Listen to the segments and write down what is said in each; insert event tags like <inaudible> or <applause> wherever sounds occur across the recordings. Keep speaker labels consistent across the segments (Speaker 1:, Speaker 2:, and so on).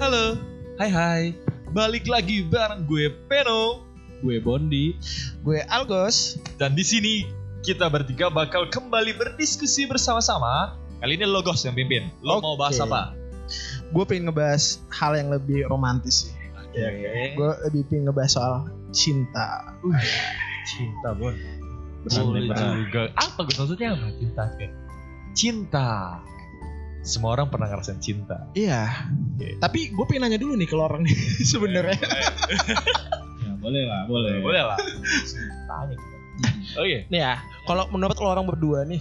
Speaker 1: Halo,
Speaker 2: Hai hai,
Speaker 1: balik lagi bareng gue Peno,
Speaker 2: gue Bondi.
Speaker 3: Gue Algos.
Speaker 1: dan di sini kita bertiga bakal kembali berdiskusi bersama-sama. Kali ini lo Gos yang pimpin. Lo mau bahas
Speaker 3: Oke.
Speaker 1: apa?
Speaker 3: Gue pengen ngebahas hal yang lebih romantis sih.
Speaker 1: Oke.
Speaker 3: Gue lebih pengen ngebahas soal cinta.
Speaker 2: Cinta Bon.
Speaker 1: Boleh
Speaker 2: Berat.
Speaker 1: juga. Apa Gos maksudnya apa? Cinta. oke. Cinta. Semua orang pernah ngerasain cinta.
Speaker 3: Iya.
Speaker 1: Oke.
Speaker 3: Tapi gue pengen nanya dulu nih ke lo orang nih <laughs> sebenarnya.
Speaker 2: Ya, boleh lah, boleh.
Speaker 1: Boleh lah. Tanya kita.
Speaker 2: Oh,
Speaker 1: Oke.
Speaker 2: iya.
Speaker 3: Nih ya, kalau menurut lo orang berdua nih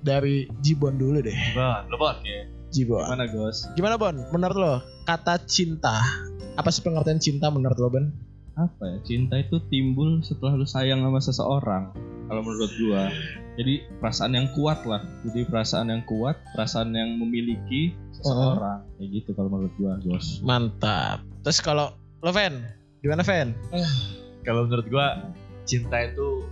Speaker 3: dari Jibon dulu deh.
Speaker 1: Bon, lo bon. Ya.
Speaker 3: Jibon.
Speaker 2: Gimana Gos?
Speaker 3: Gimana Bon? Menurut lo kata cinta apa sih pengertian cinta menurut lo Bon?
Speaker 2: Apa ya? Cinta itu timbul setelah lu sayang sama seseorang. Kalau menurut gua. Jadi perasaan yang kuat lah. Jadi perasaan yang kuat, perasaan yang memiliki seseorang. Kayak gitu kalau menurut gua, Gos.
Speaker 3: Mantap. Terus kalau lo Ven, gimana Ven?
Speaker 1: kalau menurut gua cinta itu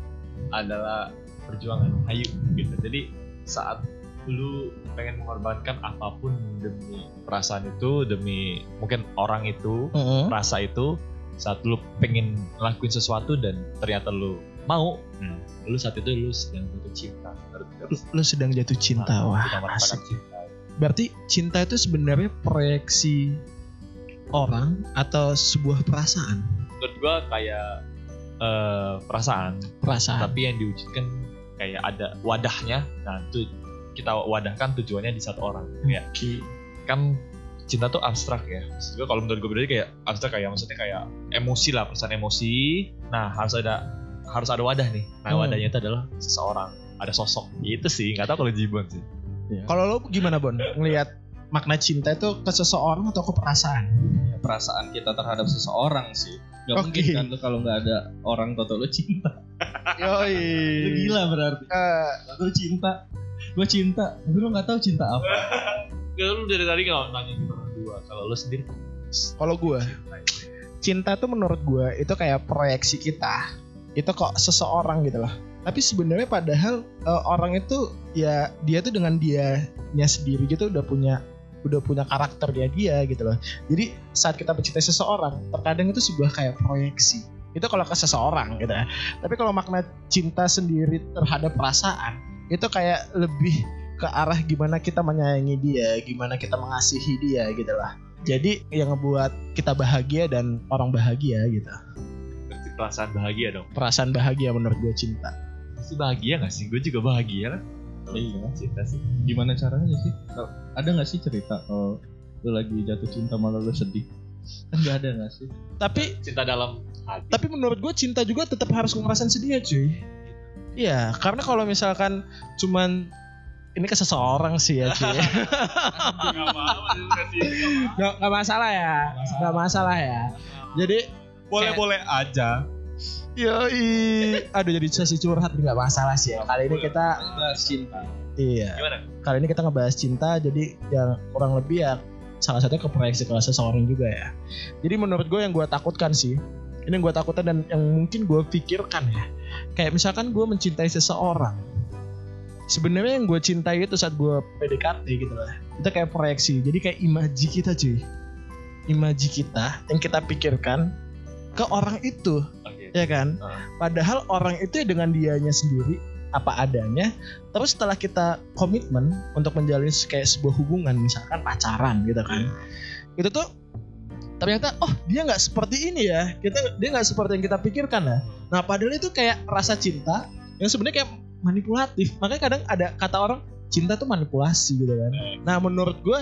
Speaker 1: adalah perjuangan ayu gitu jadi saat lu pengen mengorbankan apapun demi perasaan itu demi mungkin orang itu
Speaker 3: Heeh.
Speaker 1: rasa itu saat lu pengen lakuin sesuatu dan ternyata lu mau nah, lu saat itu lu sedang butuh cinta menurut gua.
Speaker 3: Lo sedang jatuh cinta
Speaker 1: Nah,
Speaker 3: wah.
Speaker 1: kita merasakan
Speaker 3: asik.
Speaker 1: cinta
Speaker 3: Berarti cinta itu sebenarnya proyeksi orang atau sebuah perasaan?
Speaker 1: menurut gua kayak eh, perasaan
Speaker 3: Perasaan.
Speaker 1: tapi yang diwujudkan kayak ada wadahnya nah itu kita wadahkan tujuannya di satu orang ya kan cinta tuh abstrak ya maksud gue kalau menurut gue berarti kayak abstrak kayak maksudnya kayak emosi lah perasaan emosi nah harus ada harus ada wadah nih nah
Speaker 3: Hmm.
Speaker 1: wadahnya itu adalah seseorang ada sosok itu sih nggak tahu kalau jibon sih
Speaker 3: Kalau lo gimana Bon? Ngelihat makna cinta itu ke seseorang atau ke perasaan?
Speaker 2: Ya, perasaan kita terhadap seseorang sih. Gak
Speaker 3: Oke.
Speaker 2: mungkin kan lu kalau nggak ada orang toto lu cinta.
Speaker 3: Yoi.
Speaker 2: Lu gila berarti. Lu cinta. Gua cinta, tapi lu nggak tahu cinta apa.
Speaker 1: ya, lu dari tadi nggak nanya gitu dua kalau lu sendiri
Speaker 3: kalau gue, cinta tuh menurut gue itu kayak proyeksi kita. Itu kok seseorang gitu loh. Tapi sebenarnya padahal eh, orang itu ya dia tuh dengan dianya sendiri gitu udah punya udah punya karakter dia dia gitu loh. Jadi saat kita mencintai seseorang, terkadang itu sebuah kayak proyeksi. Itu kalau ke seseorang gitu. ya. Tapi kalau makna cinta sendiri terhadap perasaan, itu kayak lebih ke arah gimana kita menyayangi dia, gimana kita mengasihi dia gitu lah. Jadi yang ngebuat kita bahagia dan orang bahagia gitu.
Speaker 1: berarti perasaan bahagia dong
Speaker 3: Perasaan bahagia menurut gue cinta.
Speaker 1: pasti bahagia nggak sih gue juga bahagia lah
Speaker 2: Iya.
Speaker 1: cinta sih
Speaker 2: gimana caranya sih Kalau- ada nggak sih cerita kalau lu lagi jatuh cinta malah lu sedih kan nggak ada nggak sih
Speaker 3: Tapi
Speaker 1: cinta dalam hati
Speaker 3: tapi menurut gue cinta juga tetap harus ngerasain sedihnya cuy iya karena kalau misalkan cuman ini ke seseorang sih ya cuy nggak nggak masalah ya nggak masalah ya jadi
Speaker 1: boleh-boleh aja
Speaker 3: yoi aduh jadi sesi curhat nggak masalah sih ya kali ini kita
Speaker 2: bahas cinta
Speaker 3: iya
Speaker 1: gimana
Speaker 3: kali ini kita ngebahas cinta jadi yang kurang lebih ya salah satunya ke proyeksi ke seseorang juga ya jadi menurut gue yang gue takutkan sih ini yang gue takutkan dan yang mungkin gue pikirkan ya kayak misalkan gue mencintai seseorang sebenarnya yang gue cintai itu saat gue PDKT gitu lah itu kayak proyeksi jadi kayak imaji kita cuy imaji kita yang kita pikirkan ke orang itu
Speaker 1: Oke.
Speaker 3: ya kan?
Speaker 1: Heeh.
Speaker 3: Padahal orang itu ya dengan dianya sendiri apa adanya. Terus setelah kita komitmen untuk menjalin se- kayak sebuah hubungan, misalkan pacaran gitu kan, itu tuh ternyata oh dia nggak seperti ini ya, kita dia nggak seperti yang kita pikirkan lah. Nah padahal itu kayak rasa cinta yang sebenarnya kayak manipulatif. Makanya kadang ada kata orang cinta tuh manipulasi gitu kan.
Speaker 1: Iya.
Speaker 3: Nah menurut gue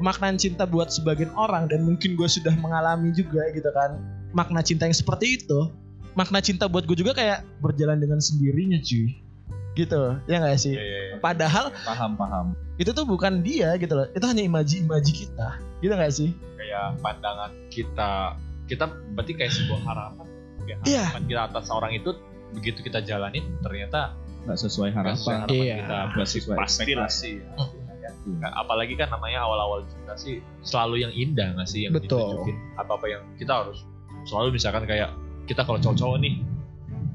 Speaker 3: pemaknaan cinta buat sebagian orang dan mungkin gue sudah mengalami juga gitu kan makna cinta yang seperti itu makna cinta buat gue juga kayak berjalan dengan sendirinya cuy gitu ya nggak sih
Speaker 1: Iya,
Speaker 3: padahal
Speaker 2: paham paham
Speaker 3: itu tuh bukan dia gitu loh itu hanya imaji-imaji kita gitu nggak sih
Speaker 1: kayak pandangan kita kita berarti kayak sebuah harapan kayak
Speaker 3: Iya.
Speaker 1: harapan kita atas orang itu begitu kita jalanin ternyata
Speaker 2: nggak sesuai
Speaker 1: nggak sesuai
Speaker 2: harapan
Speaker 1: harapan
Speaker 3: Iya.
Speaker 1: kita
Speaker 2: nggak sesuai
Speaker 1: pasti lah sih ya. Nah, apalagi kan namanya awal-awal cinta sih selalu yang indah nggak sih yang
Speaker 3: Betul.
Speaker 1: ditunjukin apa apa yang kita harus selalu misalkan kayak kita kalau cowok-cowok nih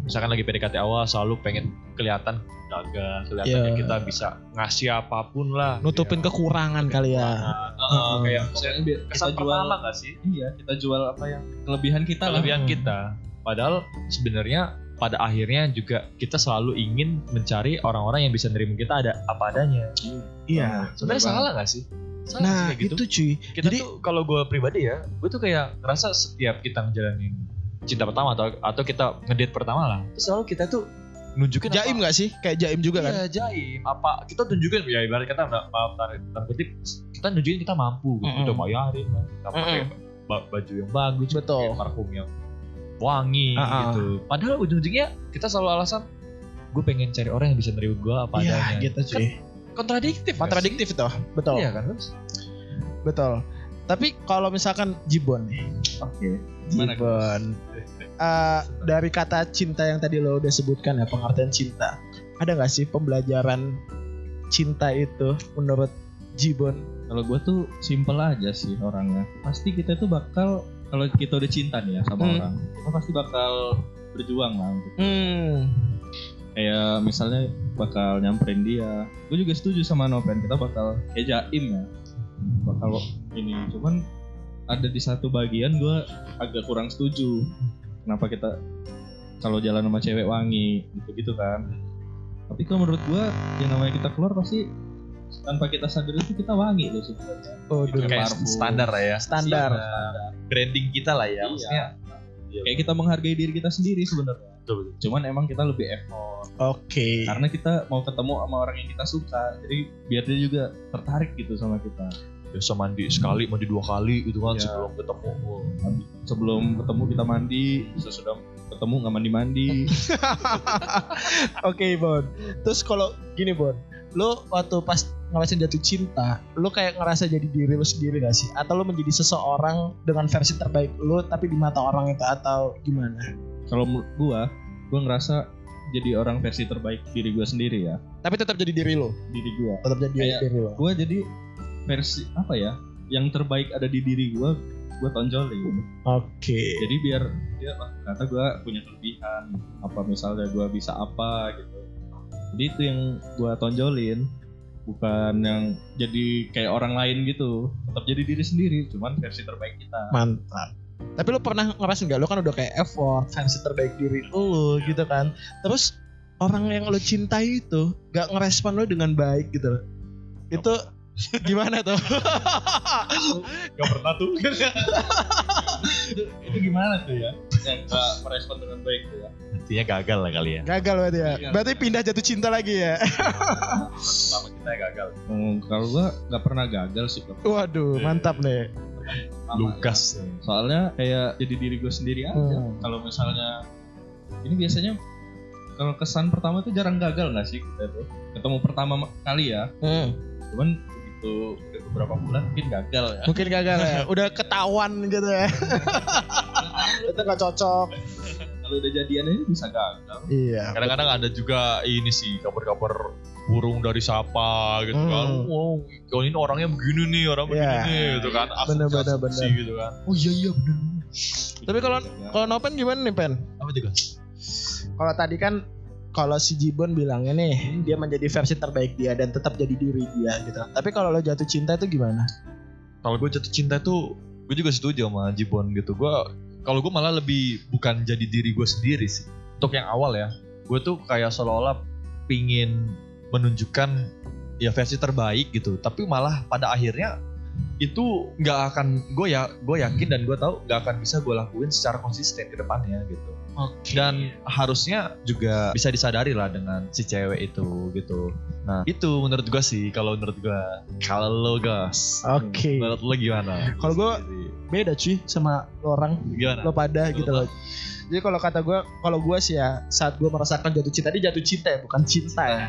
Speaker 1: misalkan lagi PDKT awal selalu pengen kelihatan agar kelihatannya
Speaker 3: Iya.
Speaker 1: kita bisa ngasih apapun lah
Speaker 3: nutupin kekurangan kali ya
Speaker 1: Nah, uh,
Speaker 3: Mm.
Speaker 1: kayak
Speaker 2: Misalnya
Speaker 1: misalnya
Speaker 2: Hmm. biar
Speaker 1: kesan
Speaker 2: kita jual
Speaker 1: pertama gak sih
Speaker 2: iya kita jual apa yang kelebihan kita
Speaker 1: kelebihan
Speaker 3: Hmm.
Speaker 2: lah
Speaker 1: kita padahal sebenarnya pada akhirnya juga kita selalu ingin mencari orang-orang yang bisa nerima kita ada apa adanya
Speaker 2: Nah,
Speaker 3: iya
Speaker 1: sebenarnya salah gak sih salah nggak
Speaker 3: nah
Speaker 1: sih kayak gitu
Speaker 3: itu cuy
Speaker 1: kita
Speaker 3: Jadi-
Speaker 1: tuh kalau gue pribadi ya gue tuh kayak ngerasa setiap kita ngejalanin cinta pertama atau atau kita ngedate pertama lah terus selalu kita tuh nunjukin apa-
Speaker 3: jaim gak sih kayak jaim juga kan
Speaker 1: Iya jaim apa kita tunjukin ya ibarat kata ma- maaf tarik kutip kita nunjukin kita mampu gitu
Speaker 3: Mm-mm.
Speaker 1: udah bayarin lah. kita pakai ba- baju yang bagus kita
Speaker 3: Betul.
Speaker 1: pakai parfum yang wangi
Speaker 3: Ah, ah.
Speaker 1: gitu padahal ujung-ujungnya kita selalu alasan gue pengen cari orang yang bisa nerima gue apa
Speaker 3: iya
Speaker 1: adanya
Speaker 3: gitu cuy
Speaker 1: kontradiktif nggak
Speaker 3: kontradiktif tuh
Speaker 1: sih?
Speaker 3: betul
Speaker 1: iya kan terus
Speaker 3: betul tapi kalau misalkan jibon nih
Speaker 2: oke Gimana,
Speaker 3: jibon Eh, dari kata cinta yang tadi lo udah sebutkan ya pengertian cinta ada nggak sih pembelajaran cinta itu menurut Jibon
Speaker 2: kalau gue tuh simple aja sih orangnya pasti kita tuh bakal kalau kita udah cinta nih ya sama
Speaker 3: Hmm.
Speaker 2: orang kita pasti bakal berjuang lah untuk
Speaker 3: hmm.
Speaker 2: kayak misalnya bakal nyamperin dia gue juga setuju sama Noven kita bakal kayak jaim ya bakal ini cuman ada di satu bagian gue agak kurang setuju kenapa kita kalau jalan sama cewek wangi gitu gitu kan tapi kalau menurut gue yang namanya kita keluar pasti tanpa kita sadar itu kita wangi loh sebenarnya
Speaker 3: oh
Speaker 2: Itu
Speaker 3: dunia.
Speaker 2: kayak standar
Speaker 1: lah ya
Speaker 3: standar
Speaker 1: branding kita lah ya
Speaker 2: maksudnya Iya. kayak kita menghargai diri kita sendiri sebenarnya
Speaker 1: betul, betul.
Speaker 2: cuman emang kita lebih effort
Speaker 3: oke
Speaker 2: karena kita mau ketemu sama orang yang kita suka jadi biar dia juga tertarik gitu sama kita
Speaker 1: biasa mandi sekali mandi dua kali gitu kan
Speaker 2: Iya.
Speaker 1: sebelum ketemu Wah, kan
Speaker 2: sebelum ketemu kita mandi sesudah ketemu nggak mandi mandi
Speaker 3: oke Bon terus kalau gini Bon lo waktu pas ngerasain jatuh cinta lo kayak ngerasa jadi diri lo sendiri gak sih atau lo menjadi seseorang dengan versi terbaik lo tapi di mata orang itu atau gimana
Speaker 2: kalau menurut gua gua ngerasa jadi orang versi terbaik diri gua sendiri ya
Speaker 3: tapi tetap jadi diri lo
Speaker 2: diri gua
Speaker 3: tetap jadi
Speaker 2: Kayak-
Speaker 3: diri lo
Speaker 2: gua jadi versi apa ya yang terbaik ada di diri gua gua tonjolin
Speaker 3: oke
Speaker 2: jadi biar dia "Wah, ternyata gue punya kelebihan apa misalnya gue bisa apa gitu jadi itu yang gue tonjolin bukan yang jadi kayak orang lain gitu tetap jadi diri sendiri cuman versi terbaik kita
Speaker 3: mantap tapi lo pernah ngerasain nggak lo kan udah kayak effort versi terbaik diri lo gitu kan terus orang yang lo cintai itu gak ngerespon lo dengan baik gitu loh itu gimana tuh
Speaker 1: Gak pernah tuh
Speaker 2: itu, itu gimana tuh ya yang gak merespon dengan baik tuh ya
Speaker 1: Intinya gagal lah kali ya
Speaker 3: gagal berarti ya
Speaker 2: Gagal.
Speaker 3: berarti pindah jatuh cinta lagi ya
Speaker 1: Pertama kita yang gagal
Speaker 2: Hmm, kalau gue nggak pernah gagal sih Kak.
Speaker 3: waduh mantap nih
Speaker 1: Lugas
Speaker 2: soalnya kayak jadi diri gue sendiri aja
Speaker 3: Hmm.
Speaker 2: kalau misalnya ini biasanya kalau kesan pertama tuh jarang gagal nggak sih kita tuh ketemu pertama ma- kali ya
Speaker 3: Hmm,
Speaker 2: cuman begitu udah beberapa bulan mungkin gagal ya
Speaker 3: mungkin gagal <laughs> ya udah ketahuan gitu ya <laughs> itu gak cocok
Speaker 2: kalau udah jadian ini bisa gagal
Speaker 3: iya
Speaker 1: Kadang-kadang ada juga ini sih Kabar-kabar burung dari siapa gitu kan
Speaker 3: Hmm.
Speaker 1: Wow kalau ini orangnya begini nih Orang begini
Speaker 3: Iya.
Speaker 1: nih gitu kan
Speaker 3: Bener, bener,
Speaker 1: Asumsi-asumsi
Speaker 3: bener.
Speaker 1: gitu kan
Speaker 3: oh iya iya bener Tapi kalau- kalau Nopen gimana nih Pen
Speaker 1: Apa juga?
Speaker 3: kalau tadi kan kalau si Jibon bilangnya nih dia menjadi versi terbaik dia dan tetap jadi diri dia gitu. Tapi kalau lo jatuh cinta itu gimana?
Speaker 1: Kalau gue jatuh cinta tuh Gue juga setuju sama Jibon gitu Gue Kalau gue malah lebih Bukan jadi diri gue sendiri sih Untuk yang awal ya Gue tuh kayak seolah-olah Pingin Menunjukkan Ya versi terbaik gitu Tapi malah pada akhirnya itu nggak akan gue ya gue yakin dan gue tahu nggak akan bisa gue lakuin secara konsisten ke depannya gitu dan harusnya juga bisa disadari lah dengan si cewek itu gitu nah itu menurut gua sih kalau menurut gua kalau lo gas
Speaker 3: Oke.
Speaker 1: menurut lo gimana
Speaker 3: Hmm. Kalau gua- Beda cuy sama lo orang
Speaker 1: gimana
Speaker 3: lo pada
Speaker 1: Lo
Speaker 3: gitu loh. Jadi kalau kata gue, kalau gue sih ya saat gue merasakan jatuh cinta, ini jatuh cinta ya, bukan cinta ya.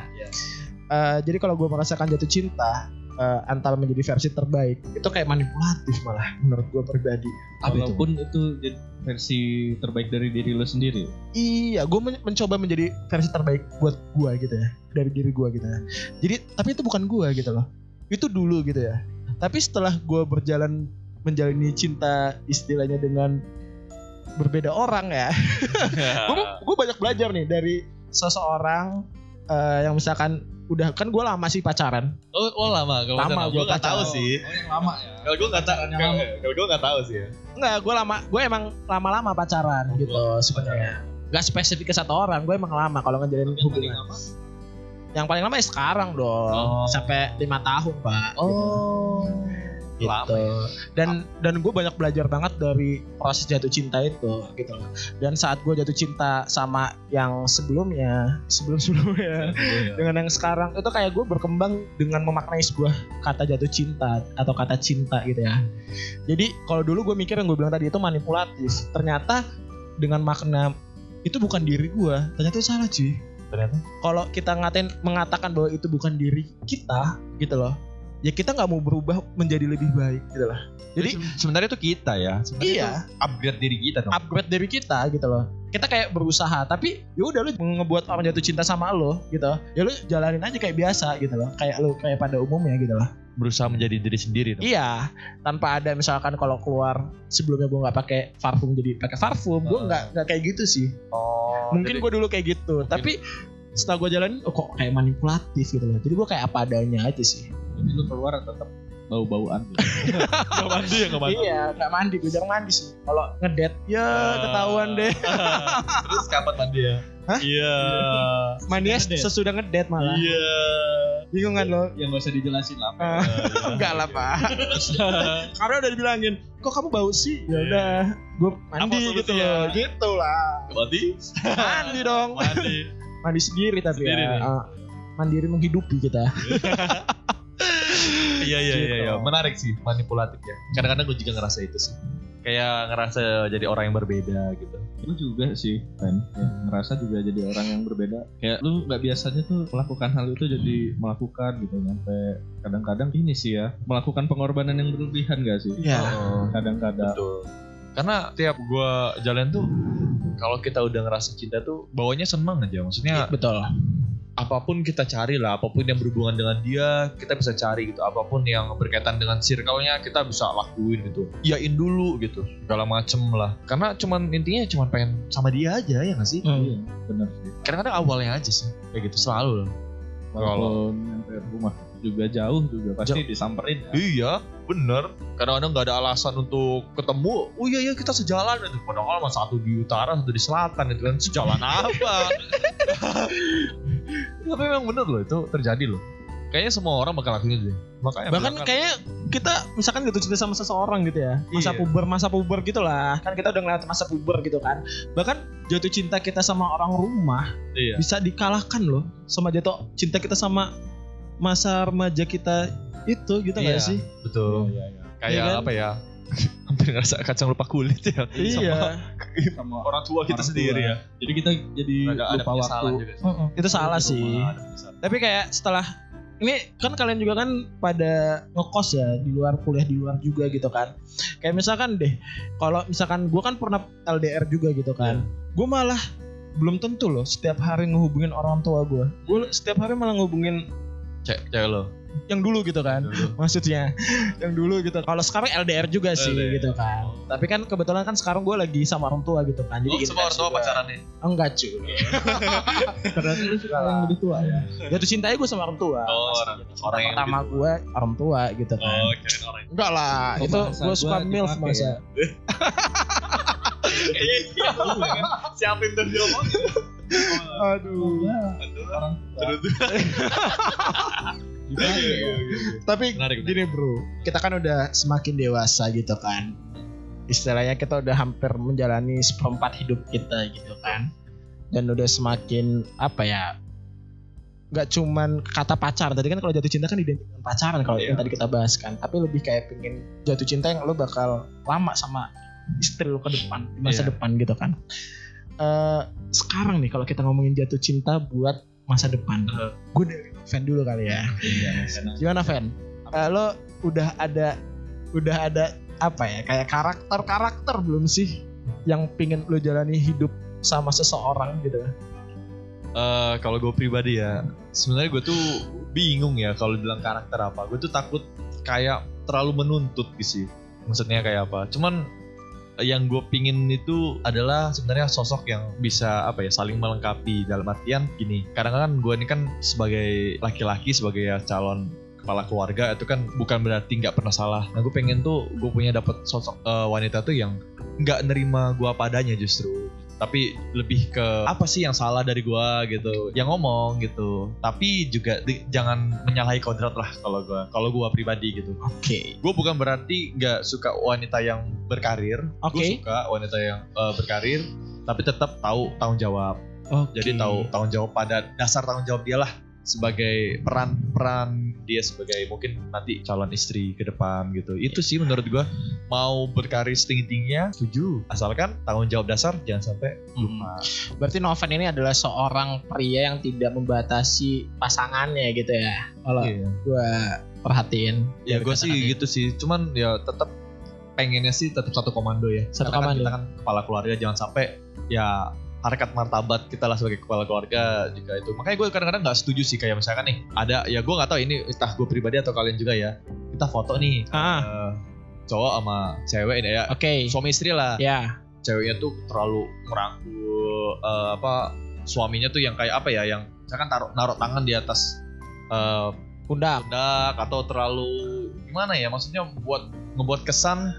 Speaker 3: Eh, jadi kalau gue merasakan jatuh cinta eh, antara menjadi versi terbaik itu kayak manipulatif malah menurut gue pribadi.
Speaker 1: Apa itu?
Speaker 2: walaupun itu jadi versi terbaik dari diri lo sendiri
Speaker 3: Iya, gue mencoba menjadi versi terbaik buat gue gitu ya, dari diri gue gitu ya. Jadi, tapi itu bukan gue gitu loh. Itu dulu gitu ya. Tapi setelah gue berjalan menjalani cinta istilahnya dengan berbeda orang ya, gue banyak belajar nih dari seseorang eh, yang misalkan udah kan gue lama sih pacaran
Speaker 1: Oh, oh lama kalau
Speaker 3: Lama,
Speaker 1: pacaran.
Speaker 3: gua
Speaker 1: Gua nggak tahu
Speaker 3: pacaran.
Speaker 1: sih.
Speaker 2: Oh, yang lama ya.
Speaker 1: Kalau gue nggak tahu,
Speaker 2: Pacaran yang
Speaker 1: kalau kalau gue nggak tahu sih ya.
Speaker 3: Enggak, gue lama, gue emang lama-lama pacaran
Speaker 2: Oh,
Speaker 3: gitu sebenarnya. Gak spesifik ke satu orang, gue emang lama kalau ngejalin
Speaker 2: Tapi yang paling
Speaker 3: hubungan.
Speaker 2: lama
Speaker 3: Yang paling lama ya sekarang dong,
Speaker 1: Oh.
Speaker 3: sampai lima tahun pak.
Speaker 1: Oh.
Speaker 3: Gitu.
Speaker 1: Lama ya.
Speaker 3: Dan dan gue banyak belajar banget dari proses jatuh cinta itu gitu. Dan saat gue jatuh cinta sama yang sebelumnya, sebelum <laughs> sebelumnya, dengan yang sekarang itu kayak gue berkembang dengan memaknai sebuah kata jatuh cinta atau kata cinta gitu ya jadi kalau dulu gue mikir yang gue bilang tadi itu manipulatif ternyata dengan makna itu bukan diri gue ternyata itu salah cuy
Speaker 1: Ternyata.
Speaker 3: kalau kita ngatain mengatakan bahwa itu bukan diri kita gitu loh ya kita nggak mau berubah menjadi lebih baik gitu lah
Speaker 1: Jadi
Speaker 3: Jadi-
Speaker 1: sebenarnya itu kita ya. Sebenarnya
Speaker 3: iya
Speaker 1: itu upgrade diri kita dong.
Speaker 3: upgrade dari kita gitu loh kita kayak berusaha tapi ya udah lu ngebuat orang jatuh cinta sama lo gitu ya lu jalanin aja kayak biasa gitu loh kayak lu kayak pada umumnya gitu loh
Speaker 1: Berusaha menjadi diri sendiri dong.
Speaker 3: iya tanpa ada misalkan kalau keluar sebelumnya gue nggak pakai parfum jadi pakai parfum gue
Speaker 1: Ah.
Speaker 3: nggak nggak kayak gitu sih
Speaker 1: Oh,
Speaker 3: mungkin gue dulu kayak gitu
Speaker 1: Mungkin.
Speaker 3: tapi setelah gue jalanin oh, kok kayak manipulatif gitu loh jadi gue kayak apa adanya aja sih
Speaker 2: Jadi lu keluar tetap bau-bauan gitu.
Speaker 1: gak mandi ya gak mandi.
Speaker 3: iya nggak mandi gue jarang mandi sih kalau ngedet ya
Speaker 1: Ah.
Speaker 3: ketahuan deh
Speaker 1: <laughs> Terus kapan mandi ya?
Speaker 3: Hah?
Speaker 1: Iya.
Speaker 3: mandinya
Speaker 2: Ngedet.
Speaker 3: sesudah ngedet malah
Speaker 1: <laughs> Iya.
Speaker 3: bingung kan lo
Speaker 2: yang gak usah dijelasin lah.
Speaker 3: Ah. Enggak lah pak
Speaker 1: <laughs>
Speaker 3: Karena udah dibilangin Kok kamu bau sih? Ya udah Gue
Speaker 1: Iya.
Speaker 3: mandi
Speaker 1: Apa
Speaker 3: gitu
Speaker 1: solusinya?
Speaker 3: ya Gitu
Speaker 1: <laughs>
Speaker 3: lah
Speaker 1: Mandi.
Speaker 3: Mandi dong
Speaker 1: Mandi.
Speaker 3: Mandi sendiri tapi
Speaker 1: Sendiri
Speaker 3: ya
Speaker 1: nih.
Speaker 3: Ah, Mandiri menghidupi kita
Speaker 1: Iya iya iya
Speaker 3: Gitu.
Speaker 1: iya. menarik sih manipulatif ya. Kadang-kadang gue juga ngerasa itu sih. Kayak ngerasa jadi orang yang berbeda gitu.
Speaker 2: Lu juga sih kan ngerasa juga jadi orang yang berbeda kayak lu nggak biasanya tuh melakukan hal itu jadi melakukan gitu sampai kadang-kadang ini sih ya melakukan pengorbanan yang berlebihan gak sih
Speaker 1: Nah.
Speaker 3: Iya
Speaker 1: Oh.
Speaker 2: kadang-kadang
Speaker 1: Betul. Karena tiap gue jalan tuh kalau kita udah ngerasa cinta tuh bawanya seneng aja. Maksudnya
Speaker 3: Iya, Betul
Speaker 1: apapun kita cari lah, apapun yang berhubungan dengan dia, kita bisa cari gitu. Apapun yang berkaitan dengan circle-nya, kita bisa lakuin gitu. Iyain dulu gitu, segala macem lah. Karena cuman intinya cuman pengen sama dia aja ya gak sih?
Speaker 3: Hmm.
Speaker 2: iya bener sih
Speaker 1: Kadang-kadang awalnya aja sih, kayak gitu selalu lah.
Speaker 2: walaupun nyampe rumah juga jauh juga pasti disamperin ya.
Speaker 1: Iya, bener. Kadang-kadang nggak ada alasan untuk ketemu. Oh iya iya kita sejalan itu. Padahal mah satu di utara, satu di selatan itu kan sejalan apa? <laughs> Tapi memang bener loh itu terjadi loh. Kayaknya semua orang bakal lakuin itu. deh. Makanya
Speaker 3: Bahkan
Speaker 1: bilang kan-
Speaker 3: kayaknya kita misalkan gitu cinta sama seseorang gitu ya Masa
Speaker 1: Iya.
Speaker 3: puber, masa puber gitu lah Kan kita udah ngeliat masa puber gitu kan Bahkan jatuh cinta kita sama orang rumah
Speaker 1: iya.
Speaker 3: Bisa dikalahkan loh Sama jatuh cinta kita sama masa remaja kita itu gitu
Speaker 1: Iya.
Speaker 3: nggak sih?
Speaker 1: Betul.
Speaker 2: Iya, iya,
Speaker 1: Kayak
Speaker 3: Iya kan?
Speaker 1: apa ya? <laughs> hampir ngerasa kacang lupa kulit ya. Sama
Speaker 2: iya. Sama
Speaker 1: orang tua kita
Speaker 2: orang
Speaker 1: sendiri
Speaker 2: tua.
Speaker 1: ya.
Speaker 2: jadi kita jadi lupa
Speaker 1: juga
Speaker 2: waktu
Speaker 1: sih.
Speaker 3: Mm-mm. Iya, gitu, Itu salah
Speaker 1: Di
Speaker 3: Oh, sih.
Speaker 1: rumah ada penyesalan.
Speaker 3: Tapi kayak setelah ini kan kalian juga kan pada ngekos ya di luar kuliah di luar juga gitu kan. Kayak misalkan deh, kalau misalkan gue kan pernah LDR juga gitu
Speaker 1: Iya.
Speaker 3: kan. Gue malah belum tentu loh setiap hari ngehubungin orang tua gue. Gue setiap hari malah ngehubungin
Speaker 1: Cek, cek lo.
Speaker 3: yang dulu gitu kan.
Speaker 1: Dulu.
Speaker 3: Maksudnya yang dulu gitu. Kalau sekarang LDR juga sih
Speaker 1: LDR.
Speaker 3: gitu kan. Tapi kan kebetulan kan sekarang gue lagi sama orang tua gitu kan.
Speaker 1: Oh,
Speaker 3: Jadi
Speaker 1: semua orang tua
Speaker 3: intens juga.
Speaker 1: pacarannya.
Speaker 3: Enggak
Speaker 1: <laughs>
Speaker 3: cuy.
Speaker 2: ternyata lu suka yang lebih tua ya
Speaker 3: Jatuh cintanya gue sama orang tua.
Speaker 1: Oh,
Speaker 3: Pasti.
Speaker 1: orang-
Speaker 3: Cinta
Speaker 1: orang yang
Speaker 3: pertama
Speaker 1: lebih
Speaker 3: gue orang tua gitu kan.
Speaker 1: Oh, kirain orang.
Speaker 3: Enggak lah,
Speaker 2: Oh,
Speaker 3: itu
Speaker 2: bahasa
Speaker 3: gue suka
Speaker 2: gua
Speaker 3: milf
Speaker 2: dipakai
Speaker 3: <laughs> masa.
Speaker 2: ya.
Speaker 3: Iya.
Speaker 1: Siapa yang tadi ngomong? Hmm.
Speaker 3: Aduh.
Speaker 2: orang tua Gimana ya?
Speaker 3: Tapi
Speaker 1: Menarik, menarik.
Speaker 3: gini bro, kita kan udah semakin dewasa gitu kan. Istilahnya kita udah hampir menjalani seperempat hidup kita gitu kan. Dan udah semakin apa ya? Gak cuman kata pacaran tadi kan kalau jatuh cinta kan identik dengan pacaran kalau
Speaker 1: Iya.
Speaker 3: yang tadi kita bahas kan. Tapi lebih kayak pengen jatuh cinta yang lo bakal lama sama istri lo ke depan, di masa
Speaker 1: Iya.
Speaker 3: depan gitu kan. Eh sekarang nih kalau kita ngomongin jatuh cinta buat masa depan,
Speaker 1: Heeh.
Speaker 3: gue dari fan dulu kali ya.
Speaker 2: Iya, karena
Speaker 3: Gimana Ven? Eh, lo udah ada udah ada apa ya kayak karakter karakter belum sih yang pingin lo jalani hidup sama seseorang gitu?
Speaker 1: Eh, kalau gue pribadi ya, sebenarnya gue tuh bingung ya kalau bilang karakter apa. Gue tuh takut kayak terlalu menuntut gitu. sih. Maksudnya kayak apa? Cuman yang gue pingin itu adalah sebenarnya sosok yang bisa apa ya saling melengkapi dalam artian gini kadang-kadang gue ini kan sebagai laki-laki sebagai ya calon kepala keluarga itu kan bukan berarti nggak pernah salah nah gue pengen tuh gue punya dapat sosok eh, wanita tuh yang nggak nerima gue padanya justru tapi lebih ke apa sih yang salah dari gua gitu yang ngomong gitu tapi juga di- jangan menyalahi kodrat lah kalau gua kalau gua pribadi gitu
Speaker 3: Oke.
Speaker 1: gue bukan berarti nggak suka wanita yang berkarir Gua
Speaker 3: Oke.
Speaker 1: suka wanita yang eh, berkarir tapi tetap tahu tanggung jawab
Speaker 3: Oke.
Speaker 1: jadi tahu tanggung jawab pada dasar tanggung jawab dia lah sebagai peran peran dia sebagai mungkin nanti calon istri ke depan gitu itu sih menurut gua mau berkarir setinggi tingginya setuju asalkan tanggung jawab dasar jangan sampai
Speaker 3: Hmm. Berarti Noven ini adalah seorang pria yang tidak membatasi pasangannya gitu ya. Kalau
Speaker 1: Iya.
Speaker 3: gue perhatiin.
Speaker 1: ya
Speaker 3: dari
Speaker 1: gue sih
Speaker 3: kata-kata.
Speaker 1: gitu sih cuman ya tetap pengennya sih tetap satu komando ya
Speaker 3: Satu
Speaker 1: Karena kan
Speaker 3: komando.
Speaker 1: kita kan kepala keluarga jangan sampai ya harkat martabat kita lah sebagai kepala keluarga juga itu makanya gue kadang-kadang nggak setuju sih kayak misalkan nih ada ya gue nggak tahu ini entah gue pribadi atau kalian juga ya kita foto nih
Speaker 3: Ah,
Speaker 1: eh, cowok sama cewek ini ya
Speaker 3: oke.
Speaker 1: suami istri lah
Speaker 3: Ya,
Speaker 1: ceweknya tuh terlalu merangkul eh, apa suaminya tuh yang kayak apa ya yang misalkan taruh naruh tangan di atas eh,
Speaker 3: pundak.
Speaker 1: pundak atau terlalu gimana ya maksudnya buat ngebuat kesan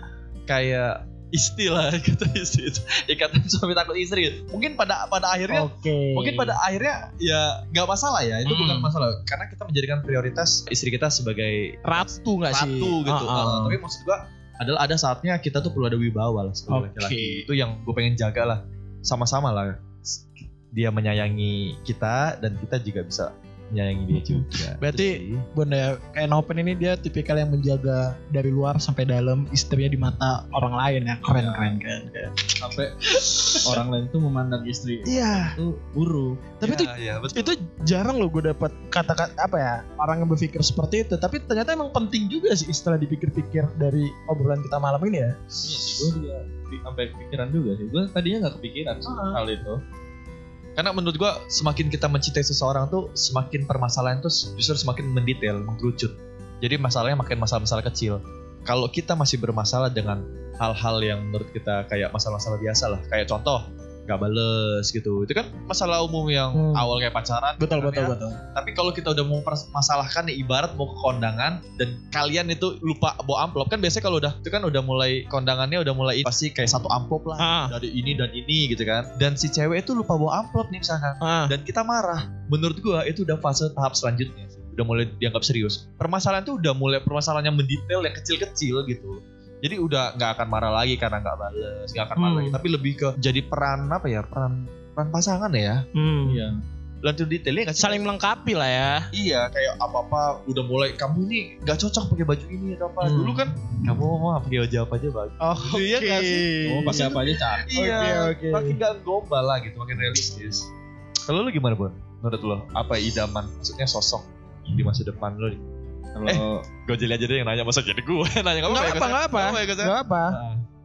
Speaker 1: kayak istilah <laughs> kata istri itu ikatan suami takut istri mungkin pada pada akhirnya
Speaker 3: Oke.
Speaker 1: mungkin pada akhirnya ya nggak masalah ya itu
Speaker 3: Hmm.
Speaker 1: bukan masalah karena kita menjadikan prioritas istri kita sebagai
Speaker 3: ratu nggak sih?
Speaker 1: ratu gitu
Speaker 3: Ah, ah.
Speaker 1: Uh, tapi maksud gua adalah ada saatnya kita tuh perlu ada wibawa lah sebagai
Speaker 3: Oke.
Speaker 1: laki-laki itu yang gue pengen jaga lah sama-sama lah dia menyayangi kita dan kita juga bisa menyayangi dia juga
Speaker 3: Berarti
Speaker 1: Itu sih.
Speaker 3: Bunda kayak Nopen ini dia tipikal yang menjaga dari luar sampai dalam istrinya di mata orang lain ya keren keren keren. keren.
Speaker 1: <laughs>
Speaker 2: sampai orang lain tuh memandang istri
Speaker 3: Iya,
Speaker 2: itu buruk
Speaker 3: tapi itu
Speaker 1: ya, betul.
Speaker 3: itu jarang loh gue dapat kata-kata apa ya orang yang berpikir seperti itu. Tapi ternyata emang penting juga sih setelah dipikir-pikir dari obrolan kita malam ini ya.
Speaker 2: Iya sih, gue juga di- sampai kepikiran juga sih. Gue tadinya nggak kepikiran sih
Speaker 3: Ah.
Speaker 2: hal itu.
Speaker 1: Karena menurut gua semakin kita mencintai seseorang tuh semakin permasalahan tuh justru semakin mendetail, mengkerucut. Jadi masalahnya makin masalah-masalah kecil. Kalau kita masih bermasalah dengan hal-hal yang menurut kita kayak masalah-masalah biasa lah, kayak contoh gak bales gitu. Itu kan masalah umum yang
Speaker 3: Hmm.
Speaker 1: awal kayak pacaran. ya.
Speaker 3: Betul betul
Speaker 1: sebenarnya.
Speaker 3: betul.
Speaker 1: Tapi kalau kita udah mau mempermasalahkan nih, ibarat mau ke kondangan dan kalian itu lupa bawa amplop kan biasanya kalau udah itu kan udah mulai kondangannya udah mulai pasti kayak satu amplop lah
Speaker 3: Ah
Speaker 1: dari ini dan ini gitu kan dan si cewek itu lupa bawa amplop nih misalkan
Speaker 3: ah.
Speaker 1: dan kita marah menurut gua itu udah fase tahap selanjutnya sih. udah mulai dianggap serius permasalahan tuh udah mulai permasalahannya mendetail yang kecil-kecil gitu jadi udah nggak akan marah lagi karena nggak bales nggak akan marah
Speaker 3: Hmm.
Speaker 1: lagi tapi lebih ke jadi peran apa ya peran peran pasangan ya
Speaker 3: Hmm. Iya
Speaker 2: Iya.
Speaker 1: lanjut detailnya nggak sih?
Speaker 3: Saling melengkapi lah ya.
Speaker 1: iya kayak apa apa udah mulai kamu ini nggak cocok pakai baju ini atau apa
Speaker 3: Hmm.
Speaker 1: dulu kan kamu mau pakai baju apa aja bagus
Speaker 3: Oh,
Speaker 1: Iya nggak sih?
Speaker 2: Oh, pakai apa aja cakep.
Speaker 1: Iya,
Speaker 3: Oke, oke.
Speaker 1: makin gak gombal lah gitu, makin realistis. Kalau lu gimana, Bon? Menurut lo, apa idaman? Maksudnya sosok di masa depan lo?
Speaker 2: Kalau
Speaker 1: Gue jadi aja deh yang nanya, masa jadi gue nanya kamu?
Speaker 3: Nggak apa nggak apa nggak apa.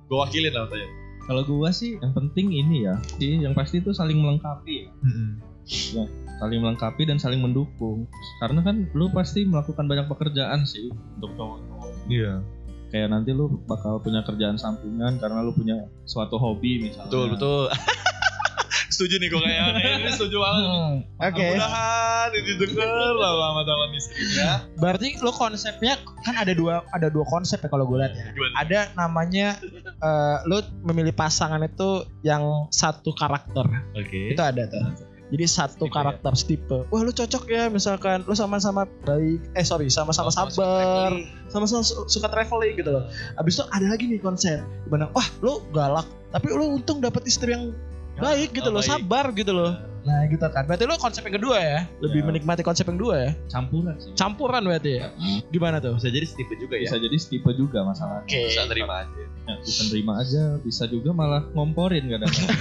Speaker 1: Gue wakilin lah tanya.
Speaker 2: kalau gua sih yang penting ini ya, sih yang pasti itu saling melengkapi, ya. saling melengkapi dan saling mendukung. Karena kan lu pasti melakukan banyak pekerjaan sih untuk cowok-cowok.
Speaker 1: Iya.
Speaker 2: Kayak nanti lu bakal punya kerjaan sampingan karena lu punya suatu hobi misalnya.
Speaker 1: Betul, betul. <laughs> setuju nih gue kayaknya, ini <laughs> setuju banget.
Speaker 3: Hmm, Oke.
Speaker 1: Mudah-mudahan ini denger lah sama calon istrinya.
Speaker 3: Berarti lo konsepnya kan ada dua ada dua konsep ya kalau gue lihat ya.
Speaker 1: Gimana?
Speaker 3: Ada namanya eh, lo memilih pasangan itu yang satu karakter
Speaker 1: Oke.
Speaker 3: itu ada tuh. Jadi
Speaker 1: Tipe
Speaker 3: satu
Speaker 1: ya.
Speaker 3: karakter setipe. Wah lu cocok ya misalkan lu sama-sama baik. Eh sorry sama-sama sabar. Sama-sama su- suka traveling gitu loh. Abis itu ada lagi nih konsep. Dimana wah lu galak tapi lu untung dapet istri yang baik gitu loh sabar gitu loh. Nah gitu kan. Berarti lu konsep yang kedua ya. Lebih
Speaker 2: Ya.
Speaker 3: menikmati konsep yang kedua ya.
Speaker 2: Campuran sih.
Speaker 3: Campuran berarti ya. Gimana tuh?
Speaker 1: Bisa jadi setipe juga ya.
Speaker 2: Bisa jadi setipe juga masalahnya.
Speaker 3: Oke.
Speaker 1: Bisa terima aja.
Speaker 2: Ya, bisa nerima aja, bisa juga malah ngomporin kadang-kadang.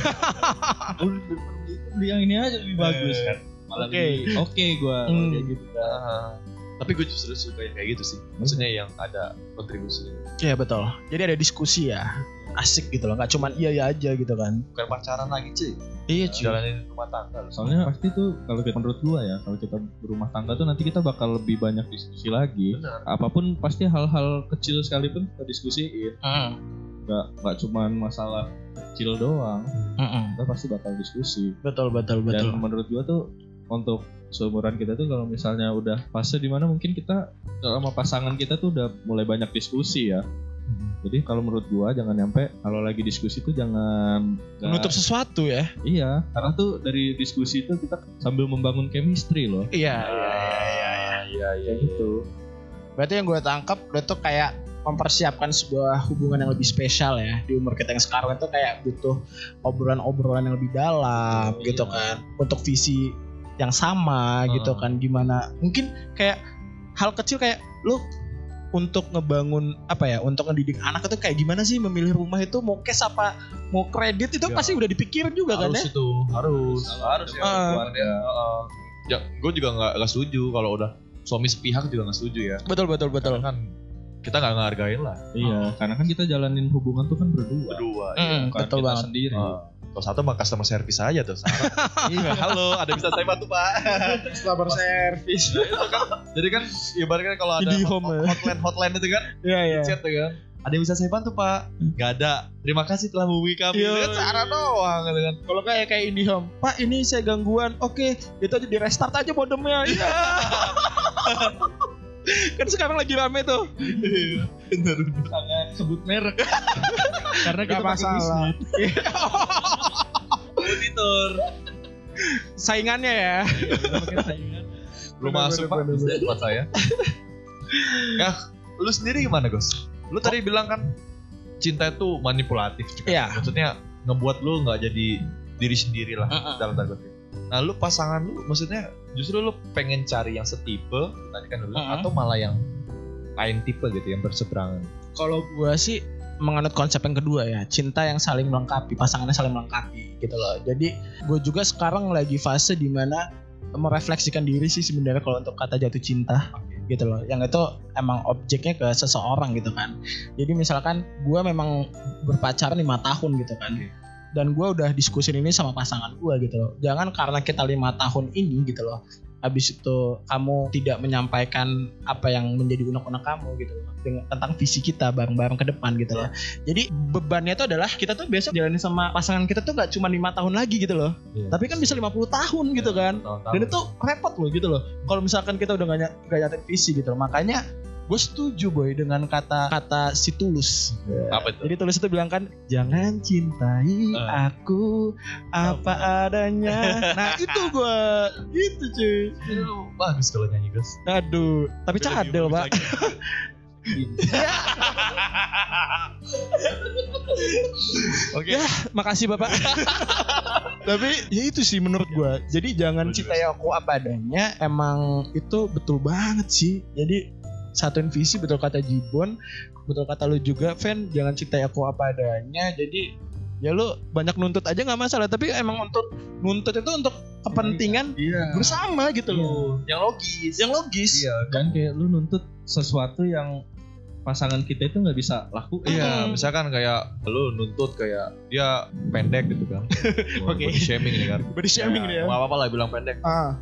Speaker 2: Oh, beli yang ini aja lebih bagus kan. Malah
Speaker 3: Oke.
Speaker 2: lebih oke gua kalau
Speaker 3: Hmm.
Speaker 2: kayak gitu.
Speaker 1: Ah, tapi gue justru suka yang kayak gitu sih. Maksudnya yang ada kontribusi.
Speaker 3: Iya betul. Jadi ada diskusi ya. Asik gitu loh, nggak cuman iya iya aja gitu kan.
Speaker 1: Bukan pacaran lagi cuy.
Speaker 3: Iya
Speaker 1: Jalanin rumah tangga. loh.
Speaker 2: Soalnya pasti tuh kalau kita menurut gua ya, kalau kita berumah tangga tuh nanti kita bakal lebih banyak diskusi lagi.
Speaker 1: Benar.
Speaker 2: Apapun pasti hal-hal kecil sekalipun kita diskusiin. nggak nggak cuman masalah kecil doang kita pasti bakal diskusi
Speaker 3: betul betul betul
Speaker 2: dan menurut gua tuh untuk seumuran kita tuh kalau misalnya udah fase dimana mungkin kita sama pasangan kita tuh udah mulai banyak diskusi ya
Speaker 3: Hmm.
Speaker 2: jadi kalau menurut gua jangan nyampe kalau lagi diskusi tuh jangan jangan-
Speaker 3: menutup sesuatu ya
Speaker 2: iya karena tuh dari diskusi itu kita sambil membangun chemistry loh
Speaker 3: iya
Speaker 1: iya iya
Speaker 2: kayak gitu
Speaker 3: berarti yang gue tangkap lo tuh kayak mempersiapkan sebuah hubungan yang lebih spesial ya di umur kita yang sekarang itu kayak butuh obrolan-obrolan yang lebih dalam
Speaker 2: Iya.
Speaker 3: gitu kan untuk visi yang sama
Speaker 1: Heeh.
Speaker 3: gitu kan gimana mungkin kayak hal kecil kayak lu untuk ngebangun apa ya untuk ngedidik anak itu kayak gimana sih memilih rumah itu mau cash apa mau kredit itu
Speaker 1: Ya.
Speaker 3: pasti udah dipikirin juga kan
Speaker 1: harus
Speaker 3: ya
Speaker 1: itu harus
Speaker 2: harus ya
Speaker 3: Ah.
Speaker 2: keluarga.
Speaker 1: ya gue juga nggak nggak setuju kalau udah suami sepihak juga nggak setuju ya
Speaker 3: betul betul betul
Speaker 1: Karena kan kita nggak ngehargain lah
Speaker 2: iya
Speaker 3: Ah.
Speaker 2: karena kan kita jalanin hubungan tuh kan berdua
Speaker 1: berdua
Speaker 3: Mm,
Speaker 2: bukan
Speaker 3: betul
Speaker 2: kita
Speaker 3: banget
Speaker 2: sendiri
Speaker 1: Ah, kalau satu mah customer service aja tuh sama.
Speaker 2: iya
Speaker 1: halo ada bisa saya bantu pak
Speaker 3: customer service
Speaker 1: Nah, itu kan jadi kan ibaratnya kalau ada
Speaker 3: Jadi
Speaker 1: hot-
Speaker 3: home, ya.
Speaker 1: hotline hotline itu kan
Speaker 3: <laughs> iya iya Hmm.
Speaker 1: chat tuh kan ada yang bisa saya bantu pak nggak ada terima kasih telah menghubungi kami
Speaker 3: Iya.
Speaker 1: itu kan cara doang gitu kan
Speaker 3: Kalau kayak kayak IndiHome, Pak ini saya gangguan. Oke, itu aja di restart aja modemnya. Iya.
Speaker 1: Iya.
Speaker 3: <laughs> kan sekarang lagi rame tuh.
Speaker 1: bener
Speaker 2: jangan sebut
Speaker 3: <laughs>
Speaker 2: merek karena
Speaker 3: Nggak
Speaker 2: kita pakai
Speaker 3: masalah. Iya.
Speaker 2: bisnis.
Speaker 1: monitor
Speaker 3: Saingannya ya.
Speaker 2: Kita pakai saingan.
Speaker 1: belum
Speaker 3: Bener,
Speaker 1: masuk pak
Speaker 3: bener, bener,
Speaker 1: bisa buat
Speaker 3: <laughs>
Speaker 1: saya nah lu sendiri gimana Gus lu tadi bilang kan cinta itu manipulatif juga
Speaker 3: Oh. Iya.
Speaker 1: maksudnya ngebuat lu nggak jadi diri sendiri lah dalam tanda kutip nah lu pasangan lu maksudnya justru lu pengen cari yang setipe tadi kan dulu
Speaker 3: Mm-mm.
Speaker 1: atau malah yang lain tipe gitu yang berseberangan
Speaker 3: Kalau gua sih menganut konsep yang kedua ya cinta yang saling melengkapi pasangannya saling melengkapi gitu loh jadi gue juga sekarang lagi fase dimana merefleksikan diri sih sebenarnya kalau untuk kata jatuh cinta gitu loh yang itu emang objeknya ke seseorang gitu kan jadi misalkan gue memang berpacaran lima tahun gitu kan dan gue udah diskusi ini sama pasangan gue gitu loh jangan karena kita lima tahun ini gitu loh habis itu kamu tidak menyampaikan apa yang menjadi unek-unek kamu gitu loh dengan, tentang visi kita bareng-bareng ke depan gitu loh jadi bebannya itu adalah kita tuh biasa jalani sama pasangan kita tuh nggak cuma lima tahun lagi gitu loh
Speaker 1: Iya.
Speaker 3: tapi kan bisa 50 tahun gitu kan
Speaker 1: Tahun-tahun.
Speaker 3: dan itu repot loh gitu loh kalau misalkan kita udah gak, ny- gak nyatain visi gitu loh makanya gue setuju boy dengan kata kata si tulus
Speaker 1: apa itu
Speaker 3: jadi tulus itu bilang kan jangan cintai
Speaker 1: Eh.
Speaker 3: aku apa adanya nah itu gue gitu cuy
Speaker 1: Lu bagus kalau nyanyi Gus
Speaker 3: aduh tapi cadel pak
Speaker 1: Iya. Oke.
Speaker 3: Ya, <laughs> makasih bapak. Tapi ya itu sih menurut gua. Jadi jangan
Speaker 1: Gua juga
Speaker 3: cintai aku apa adanya. Emang itu betul banget sih. Jadi satuin visi betul kata Jibon, betul kata lu juga, Fan. Jangan cintai aku apa adanya. Jadi ya lu banyak nuntut aja nggak masalah. Tapi emang untuk nuntut itu untuk kepentingan
Speaker 2: iya
Speaker 3: bersama gitu loh.
Speaker 1: Yang logis.
Speaker 3: Yang logis.
Speaker 1: Iya.
Speaker 2: dan kayak lu nuntut sesuatu yang pasangan kita itu nggak bisa lakuin
Speaker 1: Iya,
Speaker 3: Mm.
Speaker 1: misalkan kayak lu nuntut kayak dia pendek gitu kan. Body
Speaker 3: Oke.
Speaker 1: shaming nih kan.
Speaker 3: Body shaming dia.
Speaker 1: Enggak apa-apa lah bilang pendek.
Speaker 3: Ah,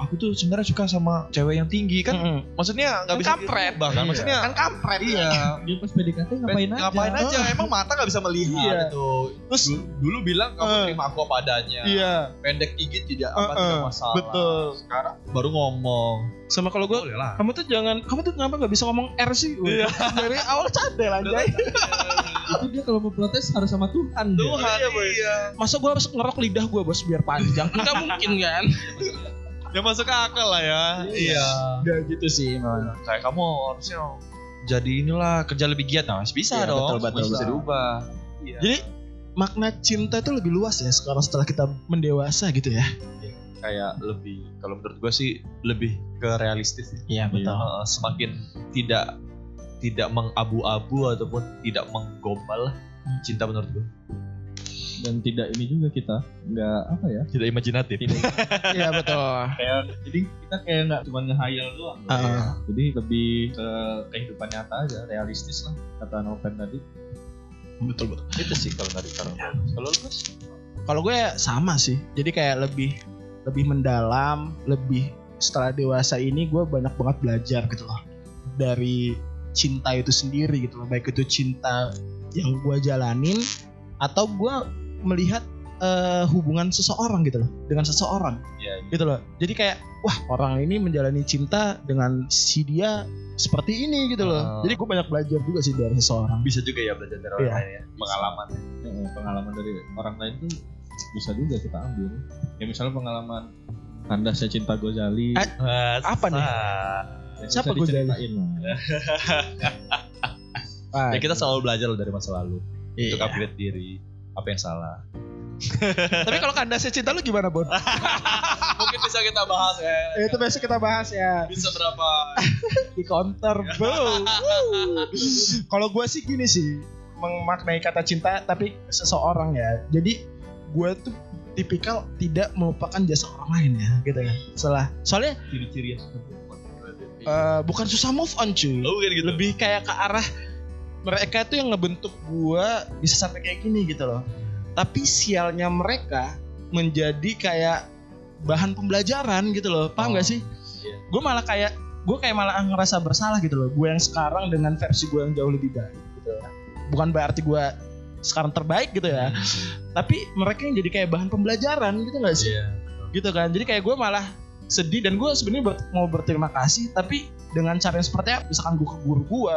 Speaker 1: Aku tuh sebenarnya suka sama cewek yang tinggi kan.
Speaker 3: Mm-mm.
Speaker 1: Maksudnya nggak
Speaker 3: Kan
Speaker 1: bisa
Speaker 3: Mm. kampret.
Speaker 1: dirubah kan.
Speaker 2: Iya.
Speaker 1: Maksudnya
Speaker 3: kan kampret.
Speaker 1: iya.
Speaker 2: dia pas PDKT ngapain aja
Speaker 1: Ngapain aja? Emang mata nggak bisa melihat
Speaker 3: Iya.
Speaker 1: itu.
Speaker 3: Terus
Speaker 1: Dulu, dulu bilang kamu
Speaker 3: Eh.
Speaker 1: terima aku apa adanya.
Speaker 3: iya,
Speaker 1: Pendek dikit tidak apa
Speaker 3: Eh,
Speaker 1: tidak
Speaker 3: eh,
Speaker 1: masalah.
Speaker 3: betul.
Speaker 1: Sekarang baru ngomong.
Speaker 3: Sama kalau gua
Speaker 1: Boleh lah.
Speaker 3: kamu tuh jangan kamu tuh kenapa nggak bisa ngomong R sih Wah,
Speaker 1: Iya.
Speaker 3: dari awal cadel anjay
Speaker 2: itu dia kalau mau protes harus sama Tuhan dia.
Speaker 1: Tuhan iya.
Speaker 3: masa gue harus ngerok lidah gue bos biar
Speaker 1: <laughs>
Speaker 3: panjang nggak mungkin kan
Speaker 1: Ya masuk akal lah ya. Iya.
Speaker 3: Iya. nggak gitu sih memang
Speaker 1: Kayak kamu harusnya jadi inilah kerja lebih giat nah masih bisa
Speaker 3: Iya,
Speaker 1: dong.
Speaker 3: betul, betul,
Speaker 1: masih bisa
Speaker 3: betul.
Speaker 1: diubah. Iya.
Speaker 3: jadi makna cinta itu lebih luas ya sekarang setelah kita mendewasa gitu ya
Speaker 1: kayak lebih kalau menurut gua sih lebih ke realistis ya.
Speaker 3: iya
Speaker 1: Heeh, semakin tidak tidak mengabu-abu ataupun tidak menggombal lah
Speaker 3: Hmm.
Speaker 1: cinta menurut gua.
Speaker 2: dan tidak ini juga kita nggak apa ya
Speaker 1: Tidak imajinatif.
Speaker 2: tidak
Speaker 3: iya betul
Speaker 2: kayak jadi kita kayak nggak cuma ngehayal doang
Speaker 1: Ah.
Speaker 2: loh.
Speaker 3: Heeh.
Speaker 2: jadi lebih ke kehidupan nyata aja realistis lah kata Noven tadi Iya.
Speaker 3: betul betul
Speaker 1: Itu sih kalau dari sekarang. Kalau lu Gus?
Speaker 3: kalau gue sama sih jadi kayak lebih lebih mendalam lebih setelah dewasa ini gue banyak banget belajar gitu loh dari cinta itu sendiri gitu loh baik itu cinta yang gue jalanin atau gue melihat eh, hubungan seseorang gitu loh dengan seseorang
Speaker 2: Iya,
Speaker 1: ya,
Speaker 3: gitu loh jadi kayak wah orang ini menjalani cinta dengan si dia seperti ini gitu loh
Speaker 1: Oh.
Speaker 3: jadi gue banyak belajar juga sih dari seseorang
Speaker 1: <laughs> bisa juga ya belajar dari orang
Speaker 3: Iya.
Speaker 1: lain ya pengalaman
Speaker 2: Eh, pengalaman dari orang lain tuh bisa juga kita ambil ya misalnya pengalaman kandasnya cinta Gozali
Speaker 1: Eh,
Speaker 3: Ah, apa nih?
Speaker 2: yang
Speaker 3: siapa
Speaker 2: bisa
Speaker 3: Gozali?
Speaker 2: diceritain lah.
Speaker 3: Wah,
Speaker 1: ya kita selalu belajar loh dari masa lalu
Speaker 3: Ah, iya.
Speaker 1: untuk upgrade diri apa yang salah
Speaker 3: tapi kalau kandasnya cinta lu gimana Bon?
Speaker 1: mungkin bisa kita bahas ya
Speaker 3: itu besok kita bahas ya
Speaker 1: bisa berapa
Speaker 3: di counter bro Wuh. kalau gue sih gini sih memaknai kata cinta tapi seseorang ya jadi gue tuh tipikal tidak melupakan jasa orang lain ya gitu ya setelah soalnya
Speaker 1: ciri-ciri yang sudah
Speaker 3: eh, bukan susah move on cuy
Speaker 1: Oh, bukan gitu.
Speaker 3: lebih kayak ke arah mereka tuh yang ngebentuk gua bisa sampai kayak gini gitu loh. Tapi sialnya mereka menjadi kayak bahan pembelajaran gitu loh. Paham
Speaker 1: Oh,
Speaker 3: gak sih?
Speaker 1: iya.
Speaker 3: Gue malah kayak gue kayak malah ngerasa bersalah gitu loh. Gue yang sekarang dengan versi gue yang jauh lebih baik gitu. loh. Bukan berarti gue sekarang terbaik gitu ya. Tapi mereka yang jadi kayak bahan pembelajaran gitu gak sih?
Speaker 1: Iya.
Speaker 3: gitu kan jadi kayak gue malah sedih dan gue sebenarnya ber- mau berterima kasih tapi dengan cara yang seperti apa misalkan gue ke guru gue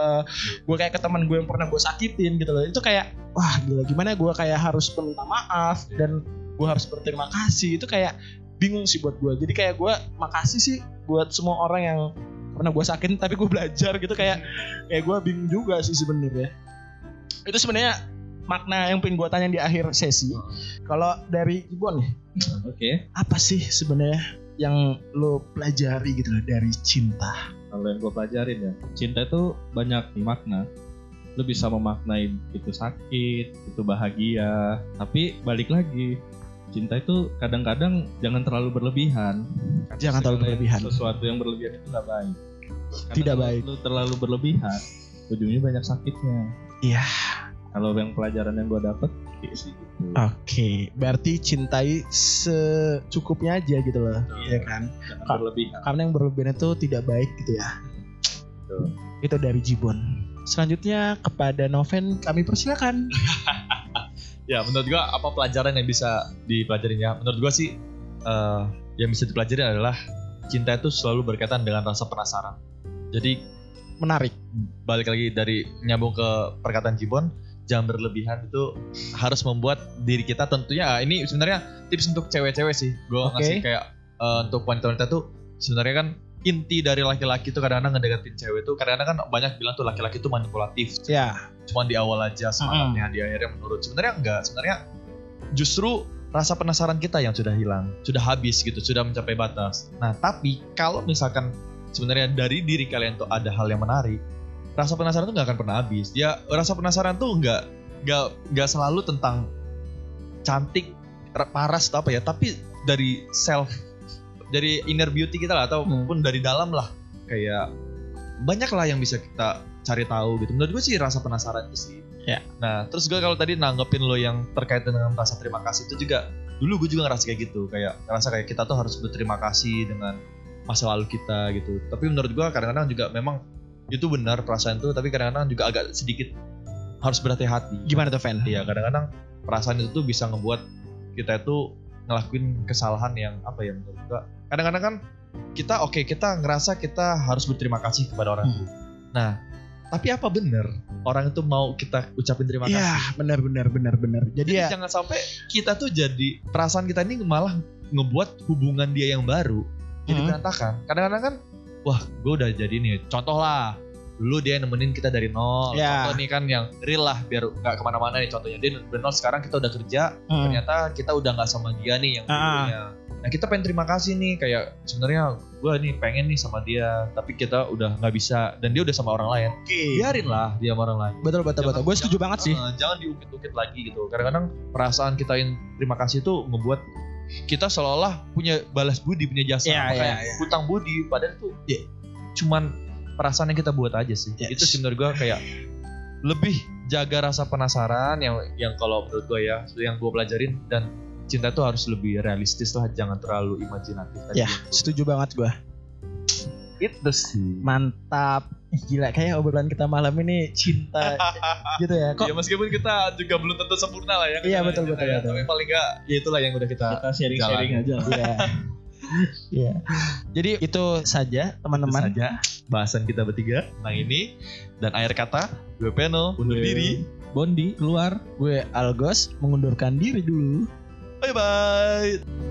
Speaker 3: gue kayak ke teman gue yang pernah gue sakitin gitu loh itu kayak wah gila gimana gue kayak harus minta maaf dan gue harus berterima kasih itu kayak bingung sih buat gue jadi kayak gue makasih sih buat semua orang yang pernah gue sakitin tapi gue belajar gitu kayak kayak gue bingung juga sih sebenarnya itu sebenarnya makna yang pengen gue tanya di akhir sesi kalau dari Ibon nih
Speaker 2: Ya, oke
Speaker 3: apa sih sebenarnya yang lo pelajari gitu loh dari cinta?
Speaker 2: kalau yang gue pelajarin ya cinta itu banyak nih makna lu bisa memaknai itu sakit itu bahagia tapi balik lagi cinta itu kadang-kadang jangan terlalu berlebihan
Speaker 3: Jangan terlalu
Speaker 2: Karena
Speaker 3: berlebihan.
Speaker 2: sesuatu yang berlebihan itu nggak baik Karena
Speaker 3: Tidak
Speaker 2: kalau
Speaker 3: baik.
Speaker 2: lu terlalu berlebihan ujungnya banyak sakitnya
Speaker 3: Iya.
Speaker 2: kalau yang pelajaran yang gue dapet ya sih gitu
Speaker 3: Ah, Oke, berarti cintai secukupnya aja gitu loh, Iya kan?
Speaker 2: jangan
Speaker 3: Kak.
Speaker 2: berlebihan
Speaker 3: Karena yang berlebihan itu tidak baik gitu ya.
Speaker 2: Betul.
Speaker 3: Itu dari Jibon. Selanjutnya kepada Noven kami persilakan.
Speaker 1: ya menurut gua apa pelajaran yang bisa dipelajarin ya menurut gua sih eh, yang bisa dipelajari adalah cinta itu selalu berkaitan dengan rasa penasaran jadi
Speaker 3: Menarik.
Speaker 1: balik lagi dari nyambung ke perkataan Jibon jangan berlebihan itu harus membuat diri kita tentunya ah, ini sebenarnya tips untuk cewek-cewek sih gue
Speaker 3: Oke.
Speaker 1: ngasih kayak eh, untuk wanita-wanita tuh sebenarnya kan inti dari laki-laki tuh kadang-kadang ngedeketin cewek tuh kadang-kadang kan banyak bilang tuh laki-laki tuh manipulatif
Speaker 3: Ya.
Speaker 1: cuma di awal aja semangatnya di akhirnya menurut sebenarnya enggak sebenarnya justru rasa penasaran kita yang sudah hilang sudah habis gitu sudah mencapai batas nah tapi kalau misalkan sebenarnya dari diri kalian tuh ada hal yang menarik rasa penasaran tuh nggak akan pernah habis dia rasa penasaran tuh nggak nggak nggak selalu tentang cantik ra- paras atau apa ya tapi dari self dari inner beauty kita lah ataupun dari dalam lah kayak banyak lah yang bisa kita cari tahu gitu. Menurut gue sih rasa penasaran itu sih.
Speaker 3: Ya.
Speaker 1: Nah, terus gue kalau tadi nanggepin lo yang terkait dengan rasa terima kasih itu juga dulu gue juga ngerasa kayak gitu, kayak ngerasa kayak kita tuh harus berterima kasih dengan masa lalu kita gitu. Tapi menurut gue kadang-kadang juga memang itu benar perasaan itu, tapi kadang-kadang juga agak sedikit harus berhati-hati.
Speaker 3: Gimana tuh Ven?
Speaker 1: Iya, kadang-kadang perasaan itu tuh bisa ngebuat kita itu ngelakuin kesalahan yang apa ya menurut gua. Kadang-kadang kan kita oke kita ngerasa kita harus berterima kasih kepada orang itu. Nah, tapi apa bener orang itu mau kita ucapin terima
Speaker 3: Iya,
Speaker 1: kasih?
Speaker 3: benar benar benar benar. Jadi ya,
Speaker 1: Jangan sampai kita tuh jadi perasaan kita ini malah ngebuat hubungan dia yang baru jadi
Speaker 3: Hmm.
Speaker 1: berantakan. Kadang-kadang kan wah, gue udah jadi nih. Contoh lah, dulu dia nemenin kita dari nol.
Speaker 3: Ya.
Speaker 1: Contoh nih kan yang real lah biar nggak kemana-mana nih contohnya. Dia dari nol sekarang kita udah kerja,
Speaker 3: hmm,
Speaker 1: ternyata kita udah nggak sama dia nih yang
Speaker 3: Ah.
Speaker 1: dulunya. Nah kita pengen terima kasih nih kayak sebenarnya gue nih pengen nih sama dia tapi kita udah nggak bisa dan dia udah sama orang lain.
Speaker 3: Oke.
Speaker 1: Biarin lah dia sama orang lain.
Speaker 3: Iya, Betul betul betul. Gue setuju banget sih.
Speaker 1: Eh, jangan diungkit-ungkit lagi gitu. Kadang-kadang perasaan kita yang terima kasih itu membuat kita seolah-olah punya balas budi punya jasa
Speaker 3: Iya,
Speaker 1: Makanya
Speaker 3: iya, iya.
Speaker 1: hutang budi padahal itu
Speaker 3: Iya.
Speaker 1: cuman perasaan yang kita buat aja sih
Speaker 3: Yes.
Speaker 1: itu sih menurut gue kayak lebih jaga rasa penasaran yang yang kalau menurut gue ya yang gue pelajarin dan cinta itu harus lebih realistis lah jangan terlalu imajinatif tadi yang
Speaker 3: Ya,
Speaker 1: gua
Speaker 3: setuju banget gue.
Speaker 1: itu
Speaker 3: <laughs>
Speaker 1: sih
Speaker 3: mantap Ih, gila kayak obrolan kita malam ini cinta gitu ya kok
Speaker 1: ya meskipun kita juga belum tentu sempurna lah ya
Speaker 3: Iya, betul,
Speaker 1: kita
Speaker 3: betul,
Speaker 1: ya.
Speaker 3: betul.
Speaker 1: tapi paling enggak ya itulah yang udah kita
Speaker 2: kita sharing-sharing aja lah.
Speaker 3: Iya. Iya. Jadi itu saja
Speaker 1: teman
Speaker 3: teman-teman.
Speaker 1: saja bahasan kita bertiga tentang Nah, ini dan akhir kata gue Peno undur diri
Speaker 2: Bondi keluar
Speaker 3: Gue Algos mengundurkan diri dulu.
Speaker 1: bye bye